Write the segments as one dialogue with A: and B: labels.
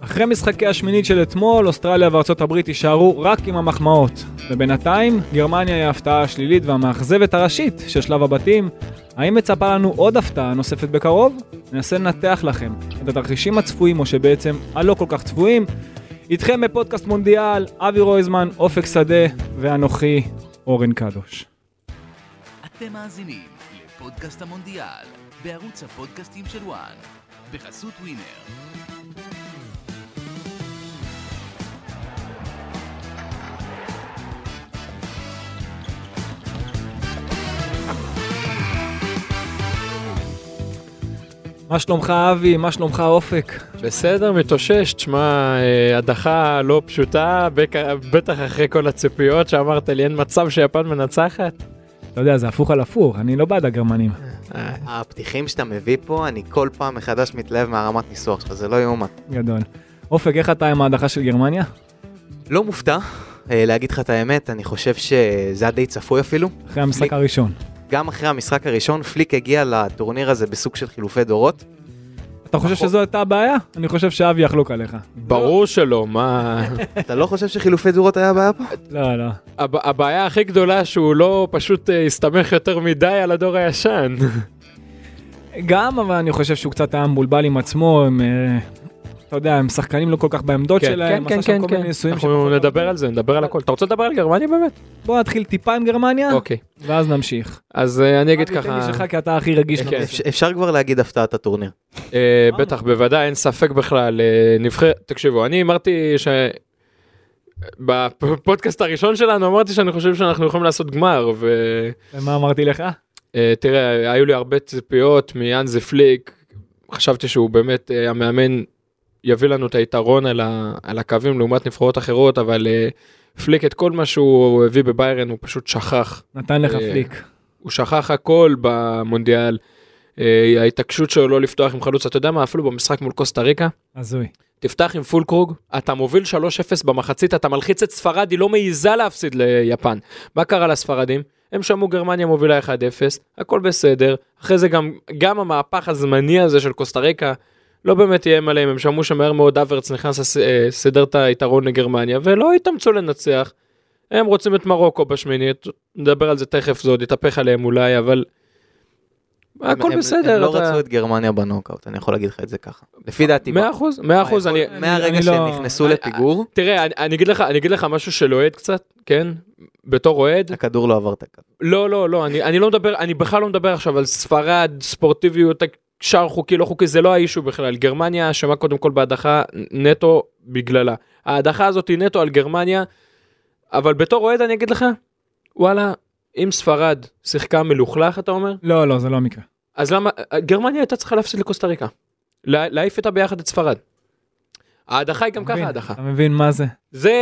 A: אחרי משחקי השמינית של אתמול, אוסטרליה וארצות הברית יישארו רק עם המחמאות. ובינתיים, גרמניה היא ההפתעה השלילית והמאכזבת הראשית של שלב הבתים. האם מצפה לנו עוד הפתעה נוספת בקרוב? ננסה לנתח לכם את התרחישים הצפויים, או שבעצם הלא כל כך צפויים. איתכם בפודקאסט מונדיאל, אבי רויזמן, אופק שדה ואנוכי אורן קדוש.
B: אתם מאזינים לפודקאסט המונדיאל בערוץ הפודקאסטים של וואן בחסות ווינר.
A: מה שלומך אבי? מה שלומך אופק?
C: בסדר, מתאושש, תשמע, אה, הדחה לא פשוטה, בק- בטח אחרי כל הציפיות שאמרת לי, אין מצב שיפן מנצחת.
A: אתה יודע, זה הפוך על הפוך, אני לא בעד הגרמנים.
C: אה,
D: הפתיחים שאתה מביא פה, אני כל פעם מחדש מתלהב מהרמת ניסוח שלך, זה לא יאומן.
A: גדול. אופק, איך אתה עם ההדחה של גרמניה?
D: לא מופתע, אה, להגיד לך את האמת, אני חושב שזה היה די צפוי אפילו.
A: אחרי המשחק
D: פליק.
A: הראשון.
D: גם אחרי המשחק הראשון, פליק הגיע לטורניר הזה בסוג של חילופי דורות.
A: אתה חושב שזו הייתה הבעיה? אני חושב שאבי יחלוק עליך.
C: ברור שלא, מה...
D: אתה לא חושב שחילופי דורות היה הבעיה פה?
A: לא, לא.
C: הב- הבעיה הכי גדולה שהוא לא פשוט אה, הסתמך יותר מדי על הדור הישן. כן.
A: גם, אבל אני חושב שהוא קצת היה מבולבל עם עצמו, עם... אה, אתה יודע, הם שחקנים לא כל כך בעמדות שלהם, עשה שם כל מיני ניסויים.
C: אנחנו נדבר על זה, נדבר על הכל. אתה רוצה לדבר על גרמניה באמת?
A: בוא נתחיל טיפה עם גרמניה,
C: אוקיי.
A: ואז נמשיך.
C: אז אה, אני אגיד
A: אבי, תן לי
C: ככה,
A: שלך, כי אתה הכי רגיש.
C: כן.
A: לנושא.
D: אפ- אפשר כבר להגיד הפתעת הטורניר.
C: אה,
A: אמרנו.
C: בטח, בוודאי, אין ספק בכלל. אה, נבחרת, תקשיבו, אני אמרתי ש... בפודקאסט הראשון שלנו אמרתי שאני חושב שאנחנו יכולים לעשות גמר ותראה
A: ומה אמרתי לך?
C: היו לי הרבה ציפיות מאנזי פליק חשבתי שהוא באמת אה, המאמן יביא לנו את היתרון על, ה, על הקווים לעומת נבחרות אחרות אבל אה, פליק את כל מה שהוא הביא בביירן הוא פשוט שכח
A: נתן לך
C: אה,
A: פליק.
C: הוא שכח הכל במונדיאל אה, ההתעקשות שלו לא לפתוח עם חלוץ אתה יודע מה אפילו במשחק מול קוסטה ריקה
A: הזוי.
C: תפתח עם פולקרוג, אתה מוביל 3-0 במחצית, אתה מלחיץ את ספרד, היא לא מעיזה להפסיד ליפן. מה קרה לספרדים? הם שמעו גרמניה מובילה 1-0, הכל בסדר. אחרי זה גם, גם המהפך הזמני הזה של קוסטה ריקה לא באמת איים עליהם, הם שמעו שמהר מאוד אברץ נכנס, לס- אה, סידר את היתרון לגרמניה, ולא התאמצו לנצח. הם רוצים את מרוקו בשמינית, נדבר על זה תכף, זה עוד יתהפך עליהם אולי, אבל...
D: הם-
C: הכל
D: הם-
C: בסדר,
D: הם לא
C: אתה-
D: רצו את גרמניה בנוקאוט, אני יכול להגיד לך את זה ככה. לפי דעתי.
C: מאה אחוז, מאה אחוז, אני...
A: אני
D: מהרגע
A: לא-
D: שהם נכנסו
C: אני-
D: לפיגור,
C: תראה, אני, אני אגיד לך, אני אגיד לך משהו של אוהד קצת, כן? בתור אוהד,
D: הכדור לא עבר את הקו.
C: לא, לא, לא, אני, אני לא מדבר, אני בכלל לא מדבר עכשיו על ספרד, ספורטיביות, שער חוקי, לא חוקי, זה לא האישו בכלל. גרמניה אשמה קודם כל בהדחה נטו בגללה. ההדחה הזאת היא נטו על גרמניה, אבל בתור אוהד אני אגיד לך, וואלה, אם ספרד שיחקה מלוכלך, אתה אומר?
A: לא, לא, זה לא המקרה.
C: אז למה גרמניה הייתה צריכה להפסיד לקוסטה ריקה. לה- להעיף איתה ביחד את ספרד. ההדחה היא גם
A: אתה
C: ככה
A: מבין?
C: הדחה.
A: אתה מבין מה זה?
C: זה...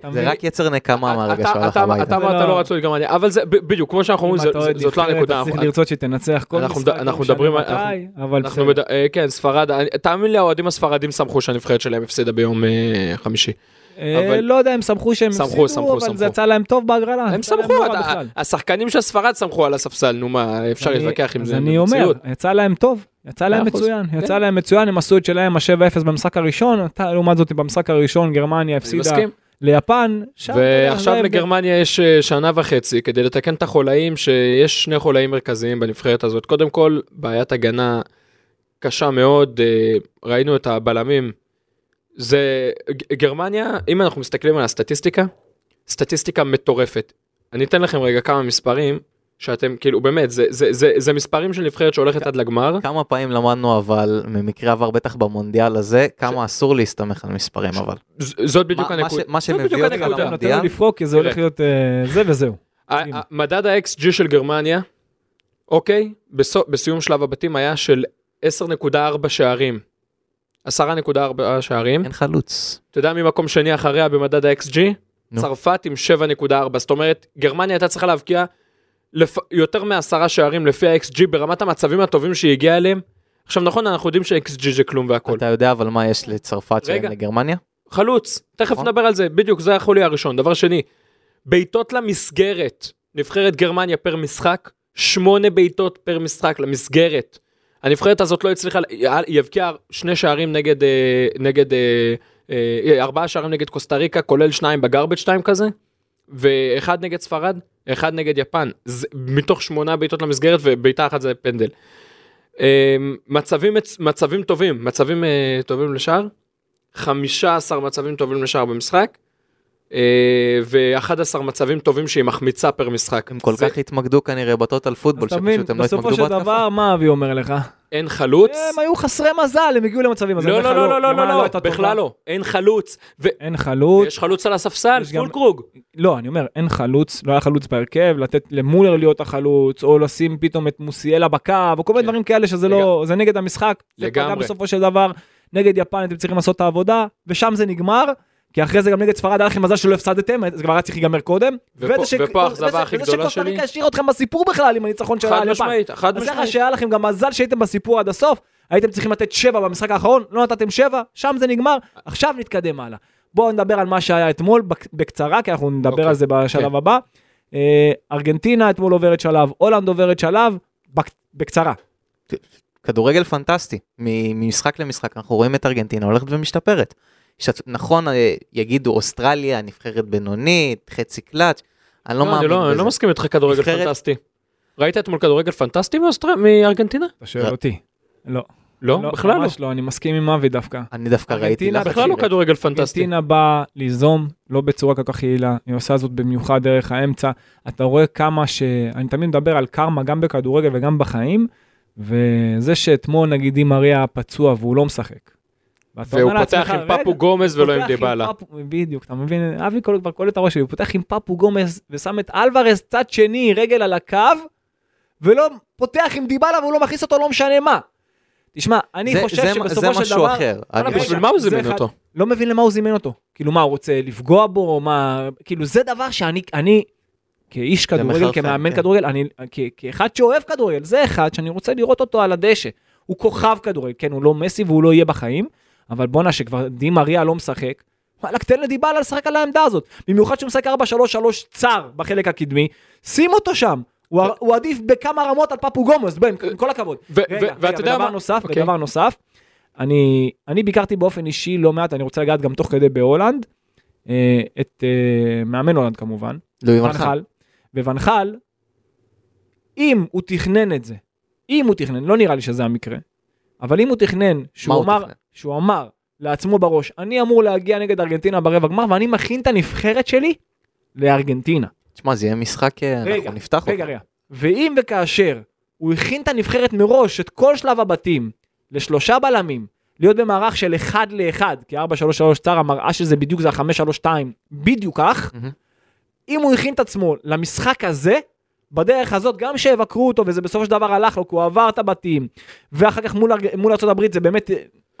A: אתה מבין?
D: זה רק יצר נקמה מהרגע
C: אתה-
D: שהוא הלך
C: אתה-
D: הביתה.
C: אתה אמרת
A: לא.
C: לא רצו את גרמניה, אבל זה ב- בדיוק, כמו שאנחנו אומרים,
A: אם אתה
C: זה-
A: אוהד
C: זה- זאת לא
A: נבחרת,
C: הנקודה.
A: אתה צריך לרצות שתנצח כל
C: אנחנו
A: משחק,
C: מד- אנחנו
A: לא משנה
C: מדברים על-
A: מתי,
C: אנחנו-
A: אבל
C: אנחנו
A: בסדר.
C: מד- אה, כן, ספרד, אני- תאמין לי, האוהדים הספרדים שמחו שהנבחרת שלהם הפסידה ביום אה, חמישי.
A: אה,
C: אבל-
A: לא יודע, הם שמחו שהם
C: שמחו,
A: הפסידו,
C: שמחו,
A: אבל זה
C: שמחו.
A: יצא להם טוב בהגרלה.
C: הם
A: יצא להם
C: שמחו,
A: לא רע
C: אתה-
A: בכלל.
C: השחקנים של ספרד שמחו על הספסל, נו מה, אפשר
A: אני-
C: להתווכח עם
A: אז
C: זה,
A: אני
C: זו
A: אומר,
C: מציאות.
A: יצא להם טוב, יצא להם
C: אחוז.
A: מצוין, יצא
C: כן.
A: להם מצוין, הם עשו את שלהם, ה-7-0 במשחק הראשון, אתה לעומת זאת במשחק הראשון גרמניה
C: אני
A: הפסידה
C: מסכים.
A: ליפן, שם,
C: ועכשיו
A: זה-
C: לגרמניה יש אה, שנה וחצי כדי לתקן את החולאים, שיש שני חולאים מרכזיים בנבחרת הזאת. קודם כל, בעיית הגנה קשה מאוד, אה, ראינו את הבלמים. זה ג- גרמניה, אם אנחנו מסתכלים על הסטטיסטיקה, סטטיסטיקה מטורפת. אני אתן לכם רגע כמה מספרים, שאתם, כאילו, באמת, זה, זה, זה, זה מספרים של נבחרת שהולכת
D: כן.
C: עד לגמר.
D: כמה פעמים למדנו אבל ממקרה עבר בטח במונדיאל הזה כמה אסור להסתמך על מספרים אבל
C: ז- זאת בדיוק
D: מה- מה
C: הנקודה.
D: ש- מה
C: זאת בדיוק
D: שמביא אותך
A: רגע,
C: הנקודה.
A: אתה נותן
D: למונדיאל.
A: לו לפרוק, כי זה
C: תראה.
A: הולך להיות אה, זה וזהו.
C: ה- ה- אה, מדד ה-XG של גרמניה, אוקיי, בסו- בסיום שלב הבתים היה של 10.4 שערים. 10.4 שערים.
D: אין חלוץ.
C: אתה יודע מי מקום שני אחריה במדד ה-XG?
D: נו.
C: צרפת עם 7.4. זאת אומרת, גרמניה הייתה צריכה להבקיע לפ... יותר מעשרה שערים לפי ה-XG ברמת המצבים הטובים שהיא הגיעה אליהם. עכשיו נכון, אנחנו יודעים ש-XG זה כלום והכל.
D: אתה יודע אבל מה יש לצרפת שאין
C: רגע.
D: לגרמניה?
C: חלוץ, תכף
D: נכון.
C: נדבר על זה, בדיוק, זה החולי הראשון. דבר שני, בעיטות למסגרת, נבחרת גרמניה פר משחק, שמונה בעיטות פר משחק למסגרת. הנבחרת הזאת לא הצליחה, היא היא הבקיעה שני שערים נגד, אה, נגד אה, אה, אה, ארבעה שערים נגד קוסטה ריקה, כולל שניים בגרבג' טיים כזה, ואחד נגד ספרד, אחד נגד יפן, זה, מתוך שמונה בעיטות למסגרת ובעיטה אחת זה פנדל. אה, מצבים, מצ- מצבים טובים, מצבים אה, טובים לשער, 15 מצבים טובים לשער במשחק, אה, ו-11 מצבים טובים שהיא מחמיצה פר משחק.
D: הם כל
C: זה-
D: כך התמקדו כנראה בטוטל פוטבול,
A: אז תבין,
D: שפשוט הם לא
A: בסופו
D: התמקדו
A: של
D: בהתקפה.
A: דבר, מה אבי אומר לך?
C: אין חלוץ.
A: הם היו חסרי מזל, הם הגיעו למצבים. אז אני
C: לא,
A: אומר
C: לא,
A: לך,
C: לא, לא,
A: יומן
C: לא, לא,
A: הייתה טובה.
C: בכלל לא, אין חלוץ. ו-
A: אין חלוץ.
C: יש חלוץ על הספסל,
A: יש גם-
C: פולקרוג.
A: לא, אני אומר, אין חלוץ, לא היה חלוץ בהרכב, לתת למולר להיות החלוץ, או לשים פתאום את מוסיאלה בקו, או כל מיני
C: כן.
A: דברים כאלה שזה לא, זה נגד המשחק. זה פגע
C: לגמרי.
A: בסופו של דבר, נגד יפן אתם צריכים לעשות את העבודה, ושם זה נגמר, כי אחרי זה גם נגד ספרד היה לכם מזל שלא הפסדתם, זה כבר היה צריך להיגמר קודם.
C: ופה-
A: וזה ש-
C: ופה האכזבה
A: וזה-
C: הכי
A: וזה
C: גדולה
A: שקוסטה
C: שלי.
A: ריקה השאירה אתכם בסיפור בכלל עם הניצחון שלה
C: חד
A: על יפן.
C: משמעית, חד
A: אז ככה
C: משמעית.
A: שהיה לכם גם מזל שהייתם בסיפור עד הסוף, הייתם צריכים לתת שבע במשחק האחרון, לא נתתם שבע, שם זה נגמר, עכשיו נתקדם הלאה. בואו נדבר על מה שהיה אתמול בק- בקצרה, כי אנחנו נדבר
C: אוקיי,
A: על זה בשלב
C: כן.
A: הבא. אה, ארגנטינה אתמול עוברת שלב, הולנד עוברת שלב, בק- בקצרה.
D: כדורגל פנטסטי, מ- ממשחק למשחק, אנחנו רואים את ארגנטינה הולכת ומשתפרת. שאת- נכון, אה, יגידו אוסטרליה, נבחרת בינונית, חצי קלאץ', אני לא
C: אני
D: מאמין
C: לא- אני לא
D: בזה.
C: מסכים איתך כדורגל
D: נבחרת-
C: פנטסטי. ראית אתמול כדורגל פנטסטי מאוסטר- מארגנטינה?
A: אתה שואל אותי. לא.
C: לא, בכלל לא.
A: ממש לא, אני מסכים עם אבי דווקא.
D: אני דווקא ראיתי
A: ארגנטינה
D: לחץ.
C: בכלל לא
D: של-
C: כדורגל פנטסטי.
A: ארגנטינה באה ליזום, לא בצורה כל כך יעילה, היא עושה זאת במיוחד דרך האמצע. אתה רואה כמה ש... אני תמיד מדבר על קרמה גם בכדורגל וגם בחיים, וזה שאתמול נגיד אם אריה פצוע והוא לא משחק. ואתה
C: והוא
A: אומר
C: פותח
A: לעצמך,
C: עם
A: "רגע,
C: פפו גומז ולא עם
A: פותח
C: דיבאלה.
A: פפו- בדיוק, אתה מבין? אבי כל- כבר קולט את הראש שלי, הוא פותח עם פפו גומז ושם את אלוורז צד שני, רגל על הקו, ולא פותח עם דיבאלה והוא לא מכניס אותו, לא משנה מה. תשמע, אני
D: זה-
A: חושב
D: זה-
A: שבסופו
D: זה
A: של
D: משהו
A: דבר...
D: אחר. אני
A: רגע,
D: חושב-
C: בשביל מה הוא
A: זה
C: זימן
A: אחד.
C: אותו?
A: לא מבין למה הוא זימן אותו. כאילו מה, הוא רוצה לפגוע בו, או מה... כאילו זה דבר שאני, אני, כאיש כדורגל,
D: מחרפן,
A: כמאמן
D: כן.
A: כדורגל, אני, כ- כאחד שאוהב כדורגל, זה אחד שאני רוצה לראות אותו על הדשא. הוא כוכב כדורגל, כן, הוא לא מסי והוא לא יהיה בחיים, אבל בואנה, שכבר די מריה לא משחק, וואלכ, תן לדיבאלה לשחק על העמדה הזאת. במיוחד שהוא משחק 4-3-3 צר בחלק הקדמי, שים אותו שם. הוא, הר- הוא עדיף בכמה רמות על פפו גומוס, בין, עם כל הכבוד.
C: ו- ו-
A: רגע,
C: ואתה
A: רגע,
C: יודע
A: ודבר
C: מה-
A: נוסף,
C: אוקיי.
A: ודבר נוסף, אני, אני ביקרתי באופן אישי לא מעט, אני רוצה לגעת גם תוך כדי בהולנד, אה, את אה, מאמן הולנד כמובן,
D: לואי
A: ון
D: ונחל.
A: חל, וונחל, אם הוא תכנן את זה, אם הוא תכנן, לא נראה לי שזה המקרה, אבל אם הוא תכנן,
D: מה
A: שהוא
D: הוא
A: אמר,
D: תכנן?
A: שהוא אמר לעצמו בראש, אני אמור להגיע נגד ארגנטינה ברבע גמר, ואני מכין את הנבחרת שלי לארגנטינה.
D: תשמע, זה יהיה משחק, אה,
A: רגע,
D: אנחנו נפתח אותו.
A: רגע, רגע. ואם וכאשר הוא הכין את הנבחרת מראש, את כל שלב הבתים, לשלושה בלמים, להיות במערך של אחד לאחד, כי 4-3-3 צר, המראה שזה בדיוק זה ה-5-3-2, בדיוק כך,
D: מהמם.
A: אם הוא הכין את עצמו למשחק הזה, בדרך הזאת, גם שיבקרו אותו, וזה בסופו של דבר הלך לו, כי הוא עבר את הבתים, ואחר כך מול, ארג- מול ארה"ב זה באמת אה,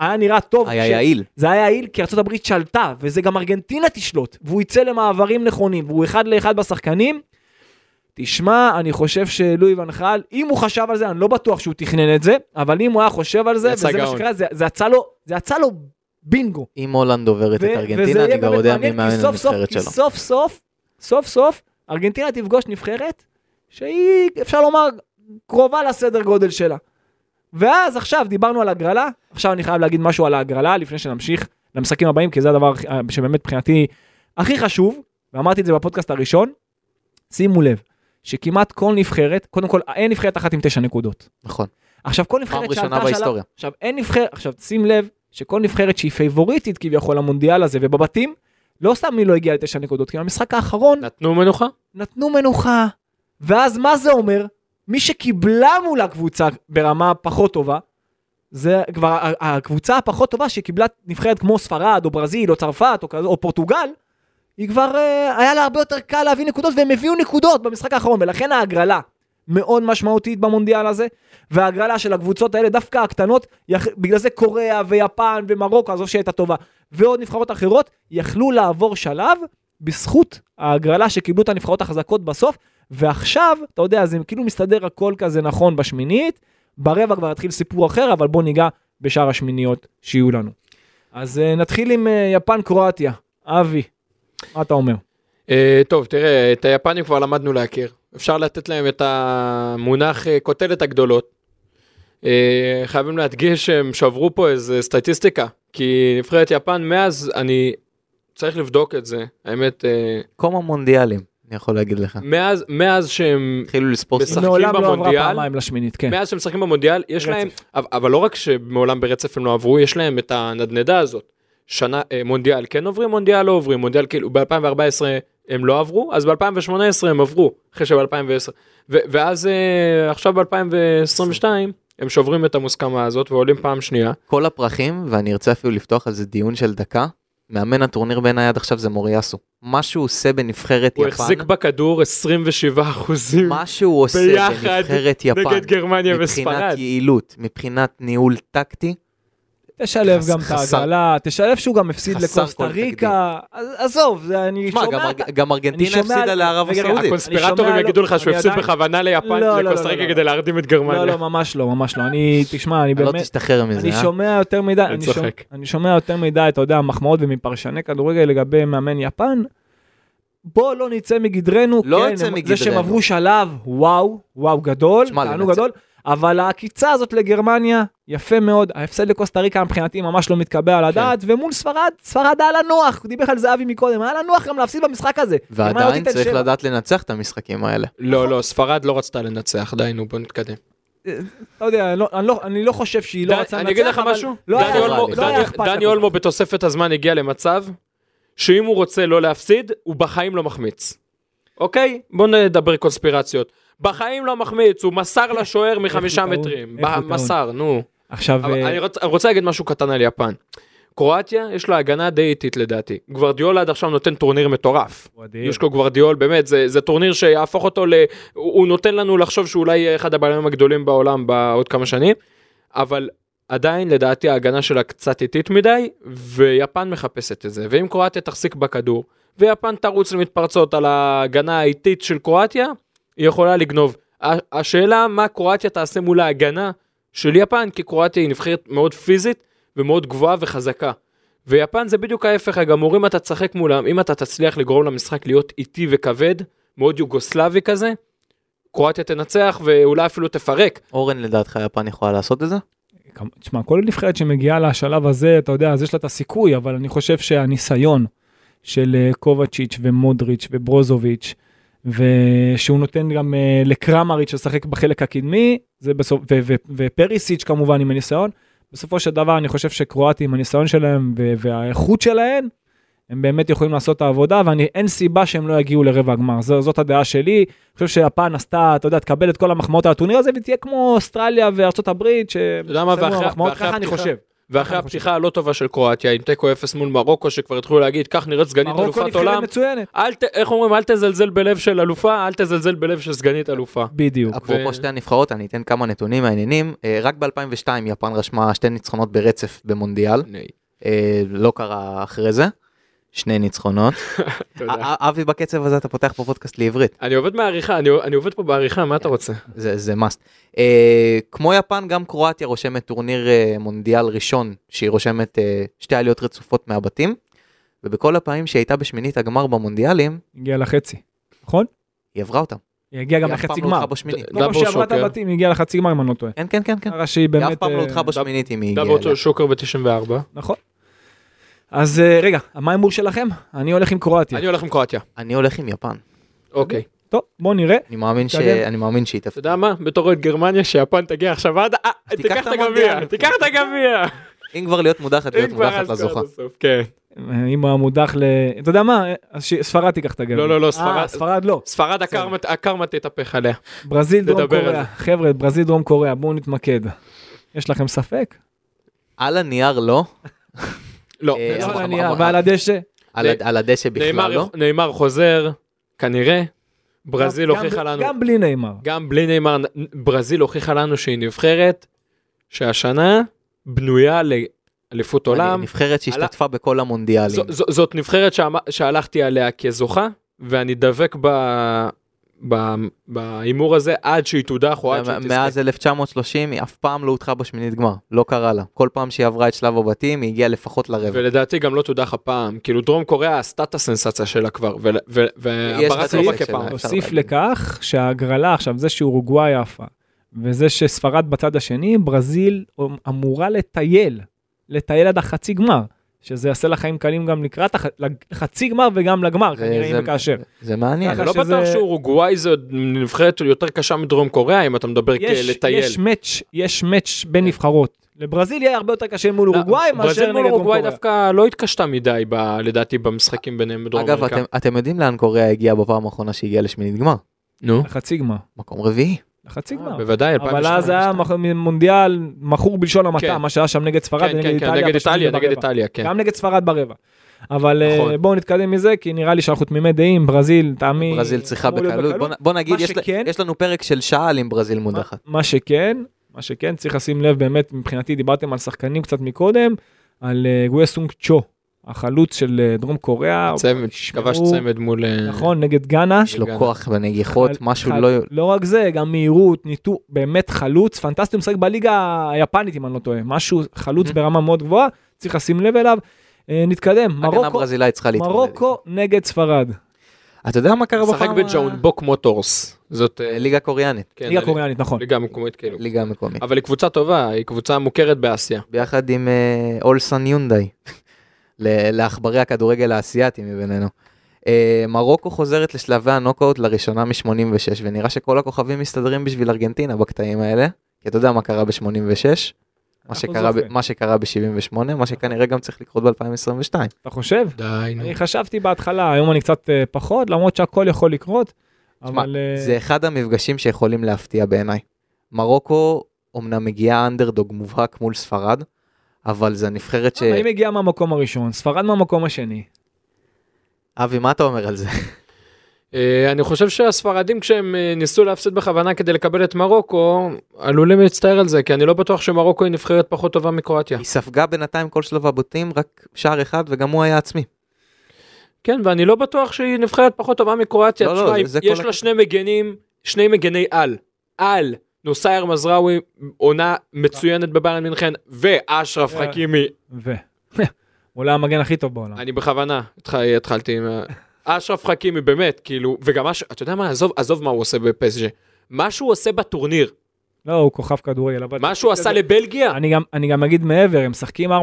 A: היה נראה טוב.
D: היה
A: ש-
D: יעיל.
A: זה היה יעיל כי ארה"ב שלטה, וזה גם ארגנטינה תשלוט, והוא יצא למעברים נכונים, והוא אחד לאחד בשחקנים. תשמע, אני חושב שלואי ונחל, אם הוא חשב על זה, אני לא בטוח שהוא תכנן את זה, אבל אם הוא היה חושב על זה,
C: יצא
A: וזה מה
C: גאון.
A: שקרה, זה, זה יצא לו, זה יצא לו בינגו.
D: אם הולנד עוברת את
A: ו-
D: ארגנטינה,
A: וזה יהיה
D: אני כבר
A: באמת
D: יודע מי
A: מעניין, כי
D: מאמן
A: סוף סוף-
D: הנבחרת
A: כי
D: שלו.
A: סוף סוף, סוף סוף, ארגנטינה תפגוש נבחרת שהיא, אפשר לומר, קרובה לסדר גודל שלה. ואז עכשיו דיברנו על הגרלה, עכשיו אני חייב להגיד משהו על ההגרלה לפני שנמשיך למשחקים הבאים, כי זה הדבר הכי- אה, שבאמת מבחינתי הכי חשוב, ואמרתי את זה בפודקאסט הראשון, שימו לב, שכמעט כל נבחרת, קודם כל אין נבחרת אחת עם תשע נקודות.
D: נכון.
A: עכשיו כל נבחרת
D: פעם ראשונה
A: שעלתה שלב-
D: בהיסטוריה.
A: עכשיו, אין נבחרת, עכשיו שים לב שכל נבחרת שהיא פייבוריטית כביכול למונדיאל הזה ובבתים, לא סתם היא לא הגיעה לתשע נקודות, כי במשחק האחרון
C: נתנו מנוחה?
A: נתנו מנוחה. ואז מה זה אומר? מי שקיבלה מול הקבוצה ברמה פחות טובה, זה כבר ה- ה- הקבוצה הפחות טובה שקיבלה נבחרת כמו ספרד או ברזיל או צרפת או, כזה, או פורטוגל, היא כבר, אה, היה לה הרבה יותר קל להביא נקודות והם הביאו נקודות במשחק האחרון ולכן ההגרלה מאוד משמעותית במונדיאל הזה וההגרלה של הקבוצות האלה דווקא הקטנות, יח... בגלל זה קוריאה ויפן ומרוקו, עזוב שהייתה טובה, ועוד נבחרות אחרות יכלו לעבור שלב בזכות ההגרלה שקיבלו את הנבחרות החזקות בסוף, ועכשיו, אתה יודע, זה כאילו מסתדר הכל כזה נכון בשמינית, ברבע כבר יתחיל סיפור אחר, אבל בוא ניגע בשאר השמיניות שיהיו לנו. אז אה, נתחיל עם אה, יפן-קרואטיה. אבי, מה אתה אומר?
C: אה, טוב, תראה, את היפנים כבר למדנו להכיר. אפשר לתת להם את המונח אה, כותרת הגדולות. אה, חייבים להדגיש שהם שברו פה איזה סטטיסטיקה כי נבחרת יפן מאז, אני צריך לבדוק את זה, האמת, אה,
D: קום המונדיאלים, אני יכול להגיד לך.
C: מאז, מאז שהם
D: התחילו לספור
C: בסך-
D: סך.
C: משחקים
A: מעולם לא עברה
C: במונדיאל.
A: פעמיים לשמינית, כן.
C: מאז שהם משחקים במונדיאל, יש
A: ברצף.
C: להם, אבל- אבל לא רק שמעולם ברצף הם לא עברו, יש להם את הנדנדה הזאת. שנה, אה, מונדיאל כן עוברים, מונדיאל לא עוברים, מונדיאל כאילו ב-2014 הם לא עברו, אז ב-2018 הם עברו, אחרי שב-2010. ואז אה, עכשיו ב-2022 הם שוברים את המוסכמה הזאת ועולים פעם שנייה.
D: כל הפרחים, ואני ארצה אפילו לפתוח על זה דיון של דקה, מאמן הטורניר בעיניי עד עכשיו זה מוריאסו. מה שהוא עושה בנבחרת
C: הוא
D: יפן,
C: החזיק בכדור 27 אחוזים
D: מה שהוא עושה
C: ביחד
D: בנבחרת יפן,
C: נגד גרמניה וספרד.
D: מבחינת יעילות, מבחינת ניהול טקטי,
A: תשלב
D: חס-
A: גם את
D: חסר-
A: ההגרלה, תשלב שהוא גם הפסיד
D: חסר כל
A: לקוסטה ריקה. אז- עזוב, זה- אני
D: תשמע, גם
A: שומע...
D: ארג- גם ארגנטינה
A: שומע
D: הפסידה
A: על-
D: לערב
A: רגע, רגע,
D: הסעודית.
C: הקונספירטורים
A: אני
C: יגידו
A: שומע, לא,
C: לך שהוא
A: אני
C: הפסיד
A: עדיין-
C: בכוונה ליפן,
A: לא, לא, לא,
C: לקוסטה
A: לא,
C: ריקה
A: לא.
C: כדי להרדים את גרמניה.
A: לא, לא, ממש לא, ממש לא. אני, תשמע, אני
D: לא
A: באמת...
D: תשתחרר מזה,
A: אני
D: אה?
A: שומע יותר מדי,
C: אני
A: אני שומע-
C: צוחק.
A: אני שומע יותר מדי, אתה יודע, מחמאות ומפרשני כדורגל לגבי מאמן יפן. בוא לא נצא מגדרנו,
D: לא
A: כן,
D: נצא
A: הם-
D: מגדרנו.
A: זה שהם עברו שלב, וואו, וואו גדול,
D: שמע,
A: תענוג
D: לנצח-
A: גדול, אבל העקיצה הזאת לגרמניה, יפה מאוד, ההפסד לקוסטה ריקה מבחינתי ממש לא מתקבל על
D: כן.
A: הדעת, ומול ספרד, ספרד היה לה נוח, דיבר על זהבי מקודם, היה לה נוח גם להפסיד במשחק הזה. גרמניה לא
D: ועדיין
A: תיתן
D: צריך
A: שבע.
D: לדעת לנצח את המשחקים האלה.
C: לא, לא, ספרד לא רצתה לנצח, די, נו, בוא נתקדם.
A: לא יודע, לא- אני לא- אני לא חושב שהיא לא
C: ד-
A: רצתה לנצח,
C: אני אגיד לך
A: אבל
C: משהו,
A: לא
C: דני
A: היה-
C: אולמו-
A: לא היה
C: דני-
A: אכפת
C: דני
A: לה.
C: אולמו בתוספת הזמן הגיע למצב שאם הוא רוצה לא להפסיד, הוא בחיים לא מחמיץ. אוקיי? בוא נדבר קונספירציות. בחיים לא מחמיץ, הוא מסר לשוער מחמישה
A: הוא טעון?
C: מטרים.
A: איך הוא
C: ב-
A: טעון?
C: מסר, נו.
A: עכשיו,
C: אבל
A: אה,
C: אני רוצ- אני רוצה להגיד משהו קטן על יפן. קרואטיה יש לה הגנה די איטית לדעתי. גוורדיאולה עד עכשיו נותן טורניר מטורף.
A: הוא אדיר.
C: יש לו גוורדיאול באמת זה, זה טורניר שיהפוך אותו ל... הוא הוא נותן לנו לחשוב שאולי יהיה אחד הבעלים הגדולים בעולם בעוד כמה שנים אבל עדיין לדעתי ההגנה שלה קצת איטית מדי ויפן מחפשת את זה ואם קרואטיה תחזיק בכדור ויפן תרוץ למתפרצות על ההגנה האיטית של קרואטיה היא יכולה לגנוב. ה- השאלה מה קרואטיה תעשה מול ההגנה של יפן כי קרואטיה היא נבחרת מאוד פיזית ומאוד גבוהה וחזקה. ויפן זה בדיוק ההפך הגמור, אם אתה תשחק מולם, אם אתה תצליח לגרום למשחק להיות איטי וכבד, מאוד יוגוסלבי כזה, קרואטיה תנצח ואולי אפילו תפרק.
D: אורן, לדעתך יפן יכולה לעשות את זה?
A: כמ- תשמע, כל נבחרת שמגיעה לשלב הזה, אתה יודע, אז יש לה את הסיכוי, אבל אני חושב שהניסיון של אה, קובצ'יץ' ומודריץ' וברוזוביץ', ושהוא נותן גם אה, לקרמריץ' לשחק בחלק הקדמי, זה בסוף, ו- ו- ופריסיץ' כמובן עם הניסיון, בסופו של דבר אני חושב שקרואטים, הניסיון שלהם ו- והאיכות שלהם, הם באמת יכולים לעשות את העבודה, ואין סיבה שהם לא יגיעו לרבע הגמר. זו, זאת הדעה שלי. אני חושב שיפן עשתה, אתה יודע, תקבל את כל המחמאות על הטורניר הזה, ותהיה כמו אוסטרליה וארצות הברית, ש...
C: אתה יודע מה,
A: בסדר,
C: ואחרי-
A: המחמאות,
C: ואחרי
A: ככה אני
C: הפתיחה-
A: חושב.
C: ואחרי הפתיחה הלא טובה של קרואטיה, עם תיקו אפס מול מרוקו, שכבר התחילו להגיד, כך נראית סגנית
A: מרוקו
C: אלופת
A: נבחרת
C: עולם.
A: מצוינת.
C: אל ת, איך אומרים, אל תזלזל בלב של אלופה, אל תזלזל בלב של סגנית אלופה.
A: בדיוק.
D: אפרופו
C: ו-
D: שתי הנבחרות, אני אתן כמה נתונים מעניינים. אה, רק ב-2002 יפן רשמה שתי ניצחונות ברצף במונדיאל. אה, לא קרה אחרי זה. שני ניצחונות.
C: תודה.
D: א- א- אבי, בקצב הזה אתה פותח פה פודקאסט לעברית.
C: אני עובד מעריכה, אני, אני עובד פה בעריכה, מה אתה רוצה?
D: זה זה must. אה, כמו יפן, גם קרואטיה רושמת טורניר אה, מונדיאל ראשון, שהיא רושמת אה, שתי עליות רצופות מהבתים. ובכל הפעמים שהיא הייתה בשמינית הגמר במונדיאלים,
A: הגיעה לחצי, נכון?
D: היא עברה אותם.
A: היא הגיעה גם
D: היא אף פעם
A: לחצי
D: לא הלכה
A: גמר.
D: בשמינית.
A: כל פעם
C: דאבל
A: שעברה את
C: שוקר.
A: הבתים, היא הגיעה לחצי גמר, אם אני לא טועה.
D: כן, כן, כן, כן.
A: ככה שהיא
D: היא
A: באמת...
D: אף פעם לא
A: אה,
D: הודחה בשמינית אם היא הגיעה אליה.
C: דאבל שוקר ב-94.
A: נכון. אז אה, רגע, מה ההימור שלכם? אני הולך עם קרואטיה.
C: אני הולך עם קרואטיה.
D: אני הולך עם יפן.
C: אוקיי.
A: טוב, בוא נראה.
D: אני מאמין ש...
A: אה, תתקדם.
D: אני מאמין שהיא
C: אתה
D: תפסיד.
C: יודע מה? בתור אוהד גרמניה, שיפן תגיע עכשיו עד... אה,
D: תיקח
C: תיקח
D: את
C: את הגביע,
D: המונדיאל.
C: תיקח את הגביע.
D: אם כבר להיות מודחת, להיות
C: אם כבר
D: מודחת לא
C: אז
D: לזוכה.
C: כבר בסוף, כן.
A: אה, אם הוא המודח ל... אתה יודע מה? אה, אז ש- ספרד תיקח את הגביע.
C: לא, לא, לא,
A: אה,
C: ספרד-
A: ספרד לא.
C: ספרד הקרמה- הקרמה תתהפך עליה.
A: ברזיל, דרום
C: נדבר על
A: קוריאה. חבר'ה, ברזיל, דרום קוריאה, בואו נתמקד. יש לכם ספק?
D: על הנייר לא,
C: לא.
D: אה,
C: לא,
A: לא,
D: אבל-
A: על
C: לא,
A: הנייר,
D: אבל-
A: ועל הדשא?
D: על הד- על הדשא
C: נאמר-
D: בכלל לא.
C: נאמר חוזר, כנראה. ברזיל
A: גם-
C: הוכיחה
A: גם-
C: לנו,
A: גם בלי נאמר.
C: גם בלי נאמר, ברזיל הוכיחה לנו שהיא נבחרת, שהשנה בנויה לאליפות עולם.
D: אני- נבחרת שהשתתפה בכל המונדיאלים.
C: ז- ז- זאת נבחרת שאמ- שהלכתי עליה כזוכה, ואני דבק ב- ב- בהימור הזה עד שהיא תודח או עד שהיא תזכה.
D: מאז 1930 היא אף פעם לא הודחה בשמינית גמר, לא קרה לה. כל פעם שהיא עברה את שלב הבתים היא הגיעה לפחות לרבע.
C: ולדעתי גם לא תודח הפעם, כאילו דרום קוריאה עשתה את הסנסציה שלה כבר, ו- ו- והברק לא
A: סנסציה
C: מכה פעם.
D: שלה. אפשר
A: נוסיף
D: להגיד.
A: לכך שההגרלה עכשיו, זה שאורוגוואי עפה, וזה שספרד בצד השני, ברזיל אמורה אמ-, לטייל לטייל עד החצי גמר, שזה יעשה לך חיים קלים גם לקראת הח- לחצי גמר וגם לגמר,
C: אה,
D: זה-
A: כנראה
D: זה-
A: אם וכאשר.
D: זה מעניין.
A: ככה
C: אני לא
A: שזה-
C: בטוח שאורוגוואי זו נבחרת יותר קשה מדרום קוריאה, אם אתה מדבר
A: יש-
C: כלטייל.
A: יש מאץ', יש מאץ' בין נבחרות. לברזיל יהיה הרבה יותר קשה מול אורוגוואי מאשר
C: אה. לא, ברזיל מול
A: נגד דרום
C: אורוגוואי
A: קוריאה.
C: דווקא לא התקשתה מדי, ב- לדעתי, במשחקים ביניהם בדרום
D: אגב,
C: אמריקה.
D: אתם, אתם יודעים לאן קוריאה הגיעה בפעם האחרונה שהגיעה לשמינית גמר?
C: נו,
A: לחצי גמר.
D: מקום רביעי.
A: לחצי גמר.
C: בוודאי,
A: אבל אז היה
C: 2002.
A: מח- מונדיאל מכור בלשון המעטה,
C: כן.
A: מה שהיה שם נגד ספרד
C: כן,
A: ונגד
C: כן, כן,
A: איטליה.
C: נגד
A: פשוט
C: איטליה,
A: ברבע.
C: נגד איטליה, כן.
A: גם נגד ספרד ברבע. אבל אה,
C: נכון.
A: בואו נתקדם מזה, כי נראה לי שאנחנו תמימי דעים, ברזיל, טעמי...
D: ברזיל צריכה
A: אה, אמור להיות
D: בקלות. בוא, נ- בוא נגיד,
A: מה
D: יש,
A: שכן-
D: ל, יש לנו פרק של שעה על עם ברזיל מודחת.
A: מה שכן, מה שכן, צריך לשים לב באמת, מבחינתי דיברתם על שחקנים קצת מקודם, על אה, גוויה סונג צ'ו, החלוץ של אה, דרום קוריאה.
D: אוקיי,
C: צמד,
A: תשמעו,
C: כבש צמד מול... אה,
A: נכון, נגד גאנה.
D: יש לו
C: לגמרי.
D: לא כוח בנגיחות,
A: חל-
D: משהו
A: חל-
D: לא...
A: לא רק זה, גם מהירות, ניתוק, באמת חלוץ, פנטסטי, הוא משחק בליגה היפנית אם אני לא טועה, משהו, חלוץ
D: Mhm.
A: ברמה מאוד גבוהה, צריך לשים לב אליו. אה, נתקדם,
D: הגנה
A: מרוקו,
D: ברזילאית צריכה להתמודד.
A: מרוקו נגד
C: כן,
A: סרד,
D: אתה יודע מה קרה בפעם...
C: משחק
D: ה-
C: בג'אונבוק מוטורס. זאת... אה,
D: ליגה קוריאנית,
C: כן,
A: נכון. ליגה
C: אה,
A: קוריאנית, נכון.
C: ליגה מקומית, כאילו.
D: ליגה מקומית.
C: אבל היא קבוצה טובה, היא קבוצה מוכרת באסיה.
D: ביחד עם אה, אולסן יונדאי, ל- לעכברי הכדורגל האסייתי מבינינו. אה, מרוקו חוזרת לשלבי הנוקאוט לראשונה מ-86, ונראה שכל הכוכבים מסתדרים בשביל ארגנטינה בקטעים האלה, כי אתה יודע מה קרה ב-86, מה
A: אנחנו
D: שקרה, ב-
A: זוכרים.
D: מה שקרה ב-78, מה שכנראה גם צריך לקרות ב-2022.
A: אתה חושב?
C: די, נו.
A: אני חשבתי בהתחלה, היום אני קצת אה, פחות, למרות שהכל יכול לקרות,
D: תשמע,
A: אבל אה,
D: זה אחד המפגשים שיכולים להפתיע בעיניי. מרוקו אומנם מגיעה אנדרדוג מובהק מול ספרד, אבל זו נבחרת ש...
A: אבל היא מגיעה מהמקום הראשון, ספרד מהמקום השני.
D: אבי, מה אתה אומר על זה?
C: אה, אני חושב שהספרדים כשהם אה, ניסו להפסיד בכוונה כדי לקבל את מרוקו, עלולים להצטער על זה, כי אני לא בטוח שמרוקו היא נבחרת פחות טובה מקרואטיה.
D: היא ספגה בינתיים כל שלב הבתים, רק שער אחד, וגם הוא היה עצמי.
C: כן, ואני לא בטוח שהיא נבחרת פחות טובה מקרואטיה.
D: לא, לא,
C: תשמע,
D: זה- זה
C: יש
D: כל
C: לה
D: הכ-
C: שני מגנים, שני מגני על. על. נוסייר מזרעוי, עונה מצוינת בביירן מינכן, ואשרף
A: אה.
C: חכימי.
A: ו... אולי המגן הכי טוב בעולם.
C: אני בכוונה התח- התחלתי עם... ה- אשרף חכימי, באמת, כאילו, וגם אש... אתה יודע מה, עזוב, עזוב מה הוא עושה בפסג'ה. מה שהוא עושה בטורניר,
A: לא, הוא כוכב כדורגל, אבל...
C: מה שהוא עשה לבלגיה,
A: אני גם, אני גם אגיד מעבר, הם משחקים 4-3-3,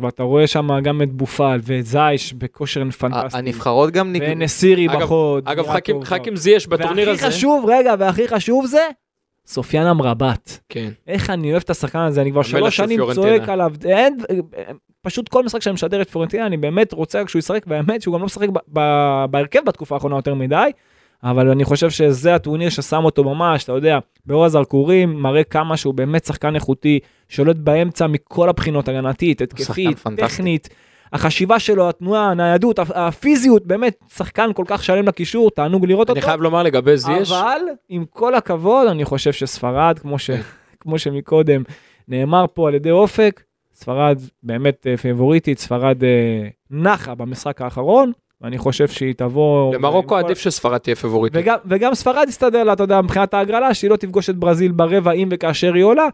A: ואתה רואה שם גם את בופל ואת זייש בכושר פנטסטי.
D: הנבחרות גם ניגעו.
A: ונסירי
C: אגב-
A: בחוד.
C: אגב,
A: נראה
C: חכים-
A: טוב
C: חכים
A: מאוד.
C: זייש בטורניר הזה.
A: והכי חשוב, רגע, והכי חשוב זה, סופיאן אמרבת.
C: כן.
A: איך אני אוהב את השחקן הזה, אני כבר
C: המלך
A: שלוש
C: של
A: שנים
C: פיורנטינה.
A: צועק עליו, אין, פשוט כל משחק שאני משדר את פורנטינה, אני באמת רוצה רק שהוא ישחק, והאמת שהוא גם לא משחק ב- ב- בהרכב בתקופה האחרונה יותר מדי, אבל אני חושב שזה הטורניר ששם אותו ממש, אתה יודע, באור הזרקורים, מראה כמה שהוא באמת שחקן איכותי, שולט באמצע מכל הבחינות, הגנתית, התקפית,
D: פנטסטי.
A: טכנית. החשיבה שלו, התנועה, הניידות, הפ- הפיזיות, באמת שחקן כל כך שלם לקישור, תענוג לראות
C: אני
A: אותו.
C: חייב לומר לגבי זייש,
A: אבל עם כל הכבוד, אני חושב שספרד, כמו, ש... כמו שמקודם נאמר פה על ידי אופק, ספרד באמת אה, פייבוריטית, ספרד אה, נחה במשחק האחרון, ואני חושב שהיא תבוא...
C: למרוקו
A: עם כל-
C: עדיף שספרד תהיה פבוריטית.
A: וגם, וגם ספרד הסתדר לה, אתה יודע, מבחינת ההגרלה, שהיא לא תפגוש את ברזיל ברבע אם וכאשר היא עולה,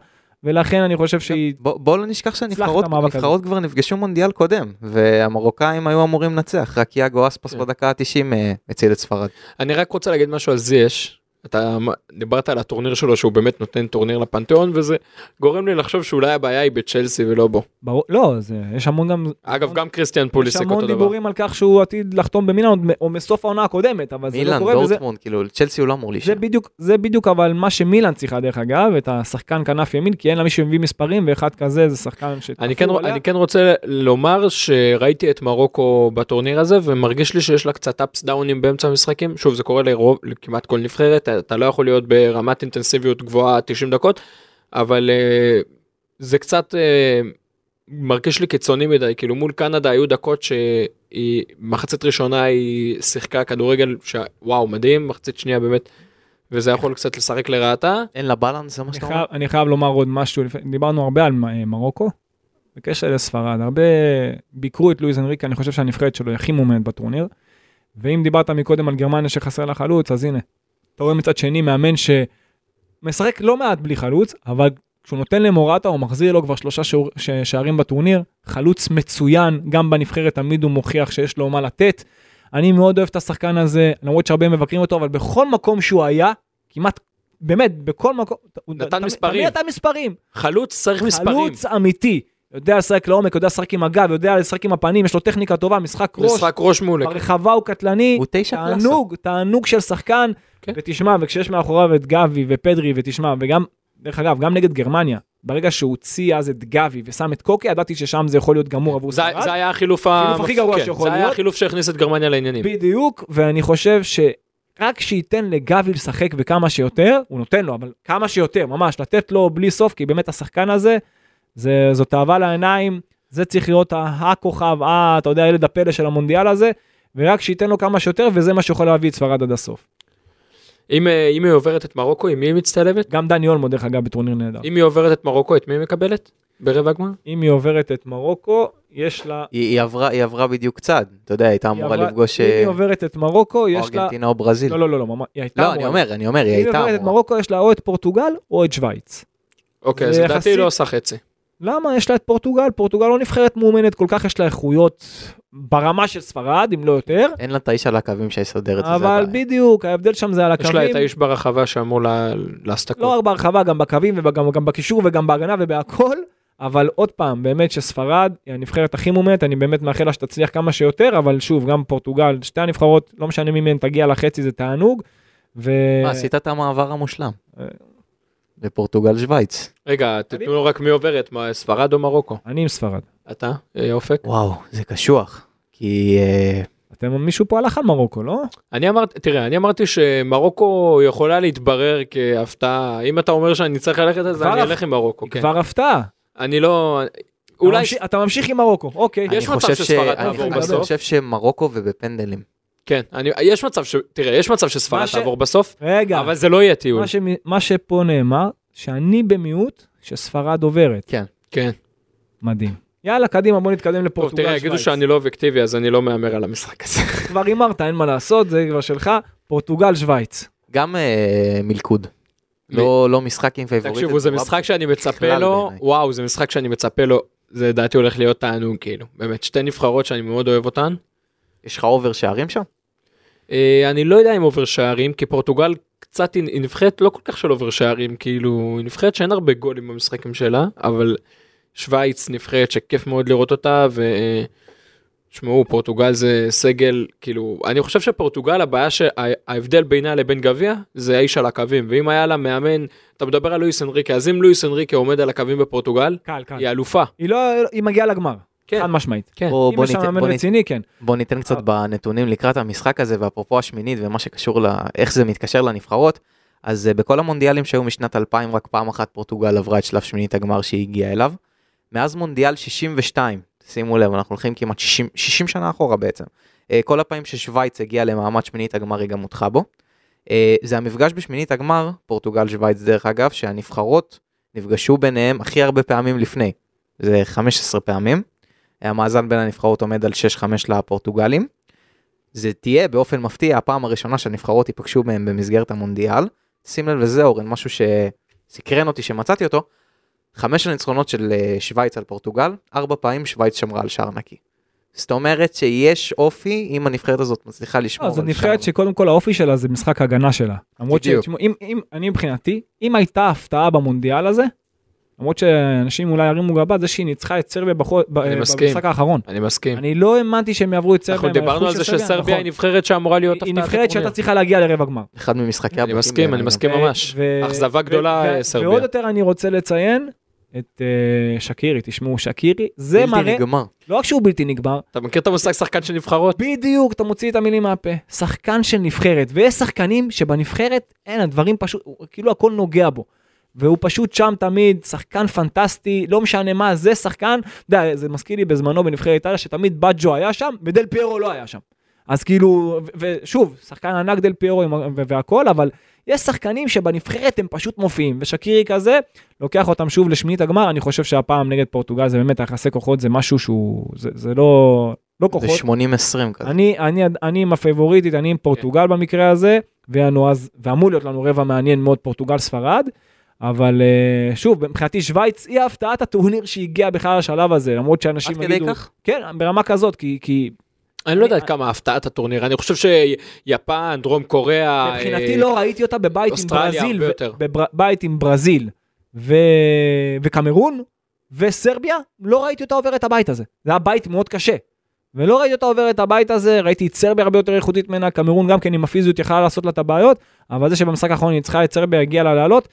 A: ולכן אני חושב שהיא...
D: בוא בוא לא נשכח שהנבחרות
A: הצלחת במאבק
D: הנבחרות כבר נפגשו מונדיאל קודם, והמרוקאים היו אמורים לנצח, רק יאגו אספס
C: כן.
D: בדקה ה-90 אה, הציל את ספרד.
C: אני רק רוצה להגיד משהו על זייש. אתה מ- דיברת על הטורניר שלו שהוא באמת נותן טורניר לפנתיאון וזה גורם לי לחשוב שאולי הבעיה היא בצ'לסי ולא בו.
A: ברור, לא, זה, יש המון גם...
C: אגב גם קריסטיאן
A: יש
C: פוליסיק
A: המון
C: אותו דבר.
A: דיבורים על כך שהוא עתיד לחתום במילאן עוד מ- או מסוף העונה הקודמת, אבל זה לא
D: מילאן,
A: קורה. וזה-
D: דורטמונד, כאילו, צ'לסי הוא לא אמור
A: זה
D: להישאר.
A: בדיוק, זה בדיוק אבל מה שמילן צריכה דרך אגב, את השחקן כנף ימין, כי אין לה מישהו שמביא מספרים, ואחד כזה זה שחקן שתפור
C: אני כן,
A: עליה.
C: אני כן רוצה לומר שראיתי את מרוקו בטורניר הזה ומרגיש לי שיש לה קצת אפס דאונים באמצע המשחקים שוב זה קורה לרוב לכמעט כל נבחרת אתה לא יכול להיות ברמת אינטנסיביות גבוהה 90 דקות אבל אה, זה קצת אה, מרגיש לי קיצוני מדי כאילו מול קנדה היו דקות שהיא מחצית ראשונה היא שיחקה כדורגל שוואו מדהים מחצית שנייה באמת וזה יכול קצת לשחק לרעתה
D: אין לה בלנס, זה מה
A: אני
C: כן-
D: שאתה
A: חייב,
D: אומר?
A: אני חייב לומר עוד משהו, לפני- דיברנו הרבה על מ- אה, מרוקו, בקשר לספרד, הרבה ביקרו את לואיז אנריקה, אני חושב שהנבחרת שלו היא הכי מומנת בטורניר, ואם דיברת מקודם על גרמניה שחסר לה חלוץ, אז הנה, אתה רואה מצד שני מאמן שמשחק לא מעט בלי חלוץ, אבל כשהוא נותן למורטה הוא מחזיר לו כבר שלושה שעור, ש, שערים בטורניר, חלוץ מצוין, גם בנבחרת תמיד הוא מוכיח שיש לו מה לתת. אני מאוד אוהב את השחקן הזה, למרות שהרבה מבקרים אותו, אבל בכל מקום שהוא היה, כמעט, באמת, בכל מקום, הוא
C: נתן
A: תמיד-
C: מספרים.
A: תמיד נתן מספרים.
C: חלוץ צריך מספרים
A: חלוץ אמיתי. יודע לשחק לעומק, יודע לשחק עם הגב, יודע לשחק עם הפנים, יש לו טכניקה טובה, משחק ראש,
C: משחק ראש מעולה.
A: ברחבה הוא קטלני,
D: הוא תשע קלאסה.
A: תענוג, תענוג של שחקן,
C: כן.
A: ותשמע, וכשיש מאחוריו את גבי ופדרי, ותשמע, וגם, דרך אגב, גם נגד גרמניה, ברגע שהוא הוציא אז את גבי ושם את קוקי, ידעתי ששם זה יכול להיות גמור עבור
C: זה,
A: ספרד.
C: זה היה החילוף ה-
A: החילוף הכי גרוע
C: כן,
A: שיכול
C: זה היה
A: להיות.
C: החילוף שהכניס את גרמניה לעניינים.
A: בדיוק, ואני חושב שרק שייתן לגבי לשחק וכמה שיותר, הוא נותן לו, אבל כמה שיותר, ממש, לתת לו בלי סוף, כי באמת השחקן הזה, זה, זו תאווה לעיניים, זה צריך להיות ה- הכוכב, ה- אתה יודע, ילד הפלא של המונדיאל הזה, ורק שייתן לו כמה שיותר, וזה מה שיכול להביא את ספרד עד הסוף.
C: אם, אה, אם היא עוברת את מרוקו, עם מי היא מצטלבת?
A: גם דני אולמו, דרך אגב, בטורניר נהדר.
C: אם היא עוברת את מרוקו, את מי היא מקבלת? ברבע הגמר?
A: אם היא עוברת את מרוקו, יש לה...
D: היא, היא, עברה, היא עברה בדיוק צד, אתה יודע, היא הייתה אמורה
A: היא עברה-
D: לפגוש
A: אם
D: אה,
A: היא עוברת את מרוקו,
D: או
A: יש לה...
D: ארגנטינה או ברזיל.
A: לא, לא, לא, לא, ממש- היא הייתה
D: לא, אני
A: אמורה.
D: אומר, אני אומר, היא
A: אם היא
D: הייתה
A: עוברת את
D: אמורה.
A: מרוקו, יש לה או את פורטוגל או את שווייץ.
C: אוקיי,
A: זה
C: אז לדעתי
A: יחסית-
C: היא לא עושה חצי.
A: למה? יש לה את פורטוגל, פורטוגל לא נבחרת מאומנת כל כך, יש לה איכויות ברמה של ספרד, אם לא יותר,
D: אין לה את האיש על הקווים שיסדר את זה, זה
A: אבל
D: הבעיה.
A: בדיוק, ההבדל שם זה על
C: יש לה
A: הקווים,
C: את האיש ברחבה שאמור לה- לעשות
A: לא
C: הכל.
A: רק בהרחבה, גם בקווים וגם גם בקישור וגם בהגנה ובהכל, אבל עוד פעם, באמת שספרד היא הנבחרת הכי מאומנת, אני באמת מאחל לה שתצליח כמה שיותר, אבל שוב, גם פורטוגל, שתי הנבחרות, לא משנה מי מהן תגיע לחצי, זה תענוג. ו...
D: מה, עשית את המעבר המושלם.
A: אה.
D: לפורטוגל שווייץ.
C: רגע,
A: אני-
C: תתנו לו רק מי עוברת, מה, ספרד או מרוקו?
A: אני עם ספרד.
C: אתה, אה, אופק?
D: וואו, זה קשוח. כי אה,
A: אתם, מישהו פה הלך על מרוקו, לא?
C: אני אמרתי, תראה, אני אמרתי שמרוקו יכולה להתברר כהפתעה. אם אתה אומר שאני צריך ללכת על זה,
A: כבר
C: אני
A: הפ-
C: אלך עם מרוקו.
A: היא
C: כן.
A: כבר הפתעה. אתה
C: אני לא... אולי...
A: ממשיך- אתה ממשיך עם מרוקו, אוקיי.
D: אני
C: יש מצב
D: חושב
C: שספרד
D: ש- אני-
A: תעבור
D: אני
A: בסוף.
D: חושב שמרוקו ובפנדלים.
C: כן, אני- יש מצב ש... תראה, יש מצב שספרד
A: מה ש-
C: תעבור בסוף,
A: רגע.
C: אבל זה לא יהיה טיול.
A: כן. מה, ש... מה שפה נאמר, שאני במיעוט שספרד עוברת.
C: כן.
A: מדהים. יאללה, קדימה, בוא נתקדם
C: טוב,
A: לפורטוגל
C: תראה, יגידו שאני לא אובייקטיבי, אז אני לא מהמר על המשחק הזה.
A: כבר הימרת, אין מה לעשות, זה כבר שלך. פורטוגל, שווייץ.
D: גם אה, מלכוד. לא לא משחק עם פייבוריט.
C: תקשיבו, זה משחק שאני מצפה
D: בכלל
C: לו,
D: בעיניי.
C: וואו, זה משחק שאני מצפה לו, זה לדעתי הולך להיות תענוג, כאילו. באמת, שתי נבחרות שאני מאוד אוהב אותן.
D: יש לך אובר שערים שם?
C: אה, אני לא יודע אם אובר שערים, כי פורטוגל קצת, היא היא נבחרת לא כל כך של אובר שערים, כאילו, היא נבחרת שאין הרבה גולים במשחקים שלה, אבל שווייץ נבחרת שכיף מאוד לראות אותה, ו... אה, תשמעו, פורטוגל זה סגל, כאילו, אני חושב שפורטוגל הבעיה, שההבדל בינה לבין גביע, זה האיש על הקווים, ואם היה לה מאמן, אתה מדבר על לואיס אנריקה, אז אם לואיס אנריקה עומד על הקווים בפורטוגל,
A: קל, קל.
C: היא אלופה.
A: היא לא... היא מגיעה לגמר.
C: כן.
A: חד משמעית.
C: כן.
D: בוא-
A: אם
D: בוא
A: יש שם
D: ניתן-
A: מאמן
D: בוא ניתן-
A: רציני, כן.
D: בוא ניתן קצת בנתונים לקראת המשחק הזה, ואפרופו השמינית ומה שקשור ל... איך זה מתקשר לנבחרות, אז אה, בכל המונדיאלים שהיו משנת 2000, רק פעם אחת פורטוגל עברה את שלב שמינית הגמר שהיא הגיעה אליו. מאז מונדיאל 62, שימו לב, אנחנו הולכים כמעט 60, 60 שנה אחורה בעצם. אה, כל הפעמים ששוויץ הגיעה למעמד שמינית הגמר היא גם הודחה בו. אה, זה המפגש בשמינית הגמר, פורטוגל-שוויץ דרך אגב, שהנבחרות נפגשו ביניהם הכי הרבה פעמים לפני. זה 15 פעמים. המאזן בין הנבחרות עומד על 6-5 לפורטוגלים. זה תהיה באופן מפתיע הפעם הראשונה שהנבחרות ייפגשו מהם במסגרת המונדיאל. שים לב לזה אורן, משהו שסקרן אותי שמצאתי אותו. חמש הניצחונות של אה, שווייץ על פורטוגל, ארבע פעמים שווייץ שמרה על שער נקי. זאת אומרת שיש אופי אם הנבחרת הזאת מצליחה לשמור
A: לא,
D: על
A: זו
D: שער.
A: נבחרת שקודם כל האופי שלה זה משחק הגנה שלה. למרות ש...
D: בדיוק.
A: תשמעו, אם, אם, אני מבחינתי, אם הייתה הפתעה במונדיאל הזה, למרות שאנשים אולי ירימו גבה, זה שהיא ניצחה את סרביה בחו- ב- אה,
C: אני מסכים.
A: במשחק האחרון.
C: אני מסכים.
A: אני לא האמנתי שהם יעברו את סרביה.
C: אנחנו
A: עם
C: דיברנו
A: האיכות
C: על זה
A: של סרביה,
C: שסרביה
A: נכון.
C: היא נבחרת שאמורה להיות
A: היא
C: הפתעת
A: נבחרת
C: הטורניר.
A: שהייתה צריכה להגיע לרבע גמר.
D: אחד ממשחקי
C: אני
D: הבתים
C: מסכים, אני
D: בעיניי.
C: מסכים
A: ו-
C: כן, ממש.
A: אה, ו-
C: אכזבה גדולה,
A: ו-
C: אה,
A: ו-
C: סרביה.
A: ועוד יותר אני רוצה לציין את אה, שקירי, תשמעו, שקירי, זה
D: בלתי
A: מראה,
D: נגמר.
A: לא רק שהוא בלתי נגמר,
C: אתה מכיר את המושג שחקן של נבחרות?
A: בדיוק, אתה מוציא את המילים מהפה. שחקן של נבחרת, ויש שחקנים שבנבחרת, אין, הדברים פשוט, הוא- כאילו הכל נוגע בו. והוא פשוט שם תמיד, שחקן פנטסטי, לא משנה מה, זה שחקן, אתה יודע, זה מזכיר לי בזמנו בנבחרת איטליה, שתמיד בג'ו היה שם, ודל פיירו לא היה שם. אז כאילו, ו- ושוב, שחקן ענק דל פיירו עם ה- ו- והכל, אבל יש שחקנים שבנבחרת הם פשוט מופיעים, ושקירי כזה, לוקח אותם שוב לשמינית הגמר, אני חושב שהפעם נגד פורטוגל זה באמת היחסי כוחות, זה משהו שהוא, זה, זה לא, לא
D: זה
A: כוחות.
D: 80-20 כזה.
A: אני, אני, אני עם הפייבוריטית, אני
D: כן.
A: עם פורטוגל במקרה הזה, ויענו אז, ואמור להיות לנו רבע מעניין מאוד פורטוגל-ספרד, אבל אה, שוב, מבחינתי שווייץ היא הפתעת הטורניר שהגיעה בכלל לשלב הזה, למרות שאנשים
D: עד כדי כך?
A: כן, ברמה כזאת, כי, כי
C: אני לא יודע עד כמה הפתעת הטורניר, אני חושב שיפן, דרום קוריאה,
A: מבחינתי
C: אה,
A: לא ראיתי אותה בבית עם
C: אוסטרליה,
A: ברזיל,
C: הרבה
A: ו-
C: יותר.
A: בבר- בבית עם ברזיל ו... וקמרון, וסרביה, לא ראיתי אותה עוברת הבית הזה. זה היה בית מאוד קשה. ולא ראיתי אותה עוברת הבית הזה, ראיתי את סרביה הרבה יותר איכותית ממנה, קמרון גם כן עם הפיזיות יכלה לעשות לה את הבעיות, אבל זה שבמשחק האחרון היא ניצחה את סרביה, הגיעה לה לעלות.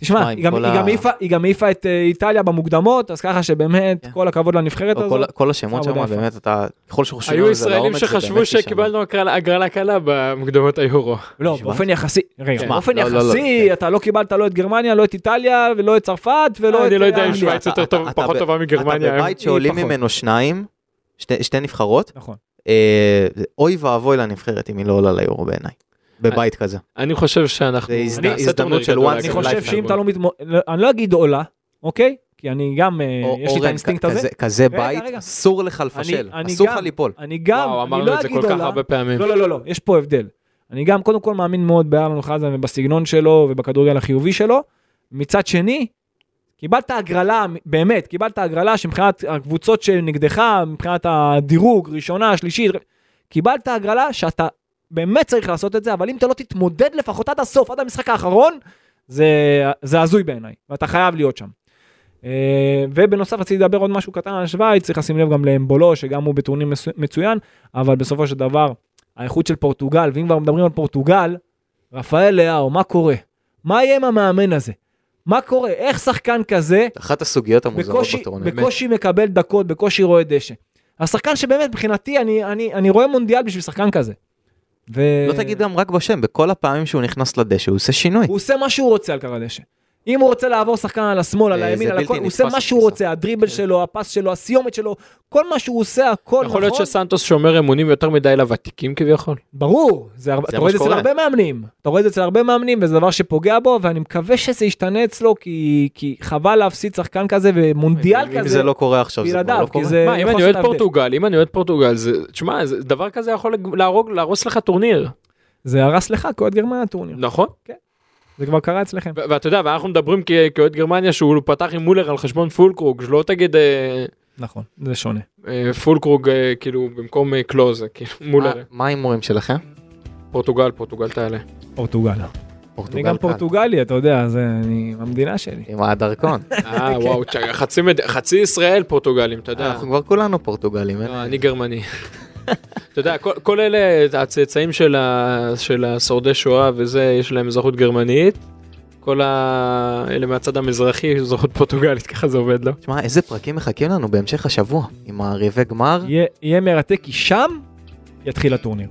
A: תשמע,
D: תשמע, אה, עם
A: היא גם-
D: כל
A: היא
D: ה-
A: גם העיפה- היא גם העיפה את אה, איטליה במוקדמות, אז ככה שבאמת,
D: כן.
A: כל הכבוד לנבחרת
D: לא, כל-
A: הזאת.
D: כל השמות
A: עבודה
D: שם,
A: יפה.
D: באמת, אתה, ככל שחושבים
C: היו
D: על זה
C: ישראלים
D: לעומק, זה
C: שחשבו
D: באמת כישרון.
C: שקיבלנו הגרלה- הגרלה קלה במוקדמות היורו.
A: לא,
D: שבעת?
A: באופן יחסי, רגע,
D: כן.
A: באופן
D: לא, לא, לא,
C: אוקיי.
A: יחסי, אתה לא קיבלת לא את גרמניה, לא את איטליה, ולא את צרפת, ולא את אה,
C: אני לא יודע אם
A: אנגליה.
C: שווייץ יותר
D: אתה-
C: טוב,
D: אתה-
C: פחות
D: אתה-
C: טובה מגרמניה.
D: אתה
C: הם-
D: בבית שעולים
A: פחות.
D: ממנו שניים, שתי- שתי נבחרות,
A: נכון.
D: אה, אוי ואבוי לנבחרת אם היא לא עולה ליורו בעיניי. בבית כזה.
A: אה,
C: אני חושב שאנחנו...
D: זה הזד-
C: אני-
D: הזדמנות
C: טורניר
D: של
C: גדול
D: once in
A: אני
D: זה
C: להגיד.
A: חושב
D: לייפטיים
A: שאם אתה לא מתמודד, אני לא אגיד עולה, אוקיי? כי אני גם, אה,
D: או-
A: יש לי את
D: אורן,
A: האינסטינקט
D: כ-
A: הזה.
D: כזה- כזה
A: רגע,
D: בית,
A: רגע.
D: אסור לך לפשל,
A: אני- אני
D: אסור
A: גם-
D: לך ליפול.
A: אני גם,
C: וואו,
A: אני
C: אמרנו
A: לא
C: את זה
A: אגיד
C: כל כך
A: עולה.
C: הרבה פעמים.
A: לא, לא, לא, לא, יש פה הבדל. אני גם קודם כל מאמין מאוד באלון חזן ובסגנון שלו ובכדורגל החיובי שלו. מצד שני, קיבלת הגרלה, באמת, קיבלת הגרלה שמבחינת הקבוצות שנגדך, מבחינת הדירוג, ראשונה, שלישית, קיבלת הגרלה שאתה באמת צריך לעשות את זה, אבל אם אתה לא תתמודד לפחות עד הסוף, עד המשחק האחרון, זה, זה הזוי בעיניי, ואתה חייב להיות שם. אה, ובנוסף רציתי לדבר עוד משהו קטן על שווייץ, צריך לשים לב גם לאמבולו, שגם הוא בטורניר מסו- מצוין, אבל בסופו של דבר, האיכות של פורטוגל, ואם כבר מדברים על פורטוגל, רפאל לאהו, מה קורה? מה יהיה עם המאמן הזה? מה קורה? איך שחקן כזה
D: אחת הסוגיות המוזרות
A: בקושי,
D: בטורניר.
A: בקושי מקבל דקות, בקושי רואה דשא? השחקן שבאמת מבחינתי, אני, אני, אני רואה מונדיאל בשביל שחקן כזה. ו...
D: לא תגיד גם רק בשם, בכל הפעמים שהוא נכנס לדשא הוא עושה שינוי.
A: הוא עושה מה שהוא רוצה על קר הדשא. אם הוא רוצה לעבור שחקן על השמאל, על
D: אה,
A: הימין,
D: זה
A: על הכל,
D: בלתי
A: הוא עושה
D: נתפס
A: מה שהוא
D: התפיסה.
A: רוצה, הדריבל שלו, הפס שלו, הסיומת שלו, כל מה שהוא עושה, הכל נכון.
C: יכול להיות שסנטוס שומר אמונים יותר מדי לוותיקים כביכול.
A: ברור, זה הרבה,
D: זה
A: אתה
D: מה
A: רואה את זה אצל
D: שקורה.
A: הרבה מאמנים, אתה רואה את זה אצל הרבה מאמנים וזה דבר שפוגע בו ואני מקווה שזה ישתנה אצלו כי, כי חבל להפסיד שחקן כזה ומונדיאל
D: אם
A: כזה,
D: זה לא קורה עכשיו, זה כבר
A: בלעדיו,
D: לא
A: כי
D: קורה.
A: זה
C: מה, אה, אם
A: יכול לעשות
C: אני אוהד
A: את ההבדל.
C: פורטוגל, אם אני אוהד פורטוגל, זה- תשמע, זה- דבר כזה יכול להרוג, להרוס לך טורניר,
A: זה הרס לך כאוהד גרמניה הטורניר,
C: נכון?
A: זה כבר קרה אצלכם.
C: ו- ואתה יודע, ואנחנו מדברים כ- כאוהד גרמניה שהוא פתח עם מולר על חשבון פולקרוג, שלא תגיד אה,
A: נכון, זה שונה.
C: אה, פולקרוג אה, כאילו במקום אה, קלוז, אה, כאילו מולר.
D: מה- מה ההימורים שלכם?
C: פורטוגל, פורטוגל תעלה.
A: פורטוגל. אני גם
D: פורטוגל כאן.
A: פורטוגלי, אתה יודע, זה אני, המדינה שלי.
D: עם הדרכון.
C: אה, וואו, תשמע, חצי מד- חצי ישראל פורטוגלים, אתה יודע.
D: אנחנו כבר כולנו פורטוגלים. אה? אין-
C: לא, אני גרמני. אתה יודע, כל- כל אלה הצאצאים של ה- של השורדי שואה וזה, יש להם אזרחות גרמנית. כל ה- אלה מהצד המזרחי, יש אזרחות פורטוגלית, ככה זה עובד, לא?
D: תשמע, איזה פרקים מחכים לנו בהמשך השבוע, עם הרבעי גמר.
A: יהיה, יהיה מרתק כי שם יתחיל הטורניר.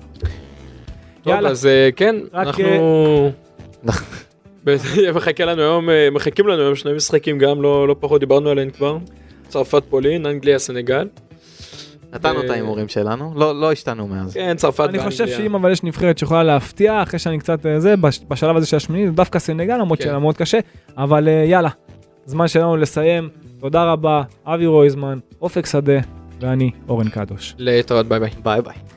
C: טוב,
A: יאללה.
C: אז אה, כן,
A: רק,
C: אנחנו...
D: אנחנו-
C: אה, ב- מחכה לנו היום, אה, מחכים לנו היום שני משחקים גם, לא לא פחות דיברנו עליהם כבר. צרפת פולין, אנגליה, סנגל.
D: נתנו
C: אה,
D: את ההימורים שלנו, לא לא השתנו מאז.
C: כן, צרפת
A: אני
C: ואנגליה.
A: חושב שאם אבל יש נבחרת שיכולה להפתיע, אחרי שאני קצת אה, זה, בש- בשלב הזה של השמינית, זה דווקא סנגל, למרות
C: כן.
A: שהיה מאוד קשה, אבל אה, יאללה, זמן שלנו לסיים. תודה רבה, אבי רויזמן, אופק שדה, ואני אורן קדוש.
C: להתראות, ביי ביי.
D: ביי ביי.